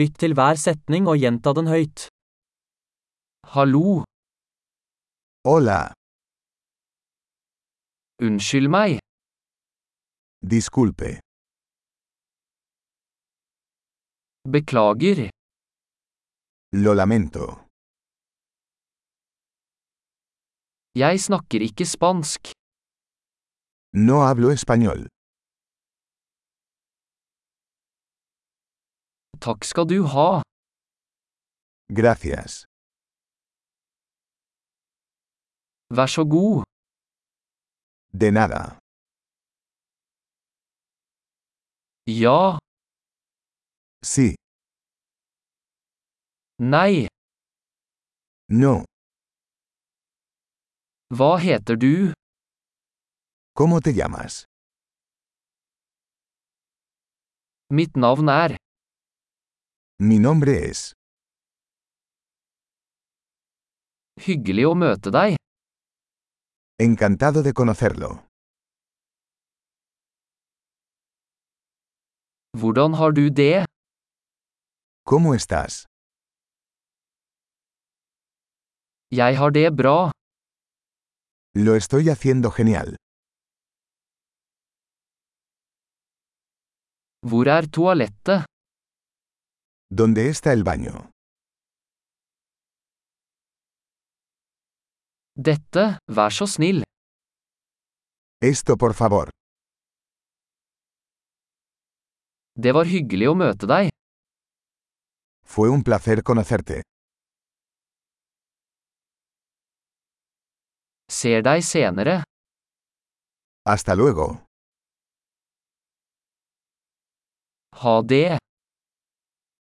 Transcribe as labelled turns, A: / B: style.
A: Lytt til hver setning og gjenta den høyt. Hallo,
B: Hola,
A: unnskyld meg,
B: disculpe,
A: beklager,
B: lo lamento.
A: jeg snakker ikke spansk,
B: No hablo español.
A: takk skal du ha,
B: Gracias.
A: vær så god,
B: De nada.
A: ja,
B: Sí,
A: nei,
B: no.
A: hva heter du,
B: ¿Cómo te llamas?
A: mitt navn er,
B: Mi nombre es.
A: hyggelig å møte deg,
B: Encantado de conocerlo.
A: hvordan har du det,
B: ¿Cómo estás?
A: jeg har det bra,
B: Lo estoy haciendo genial.
A: hvor er toalettet,
B: ¿Dónde está el baño?
A: dette, vær så snill,
B: Esto, por favor.
A: det var hyggelig å møte deg,
B: Fue un placer conocerte.
A: ser deg senere,
B: Hasta luego.
A: ha det,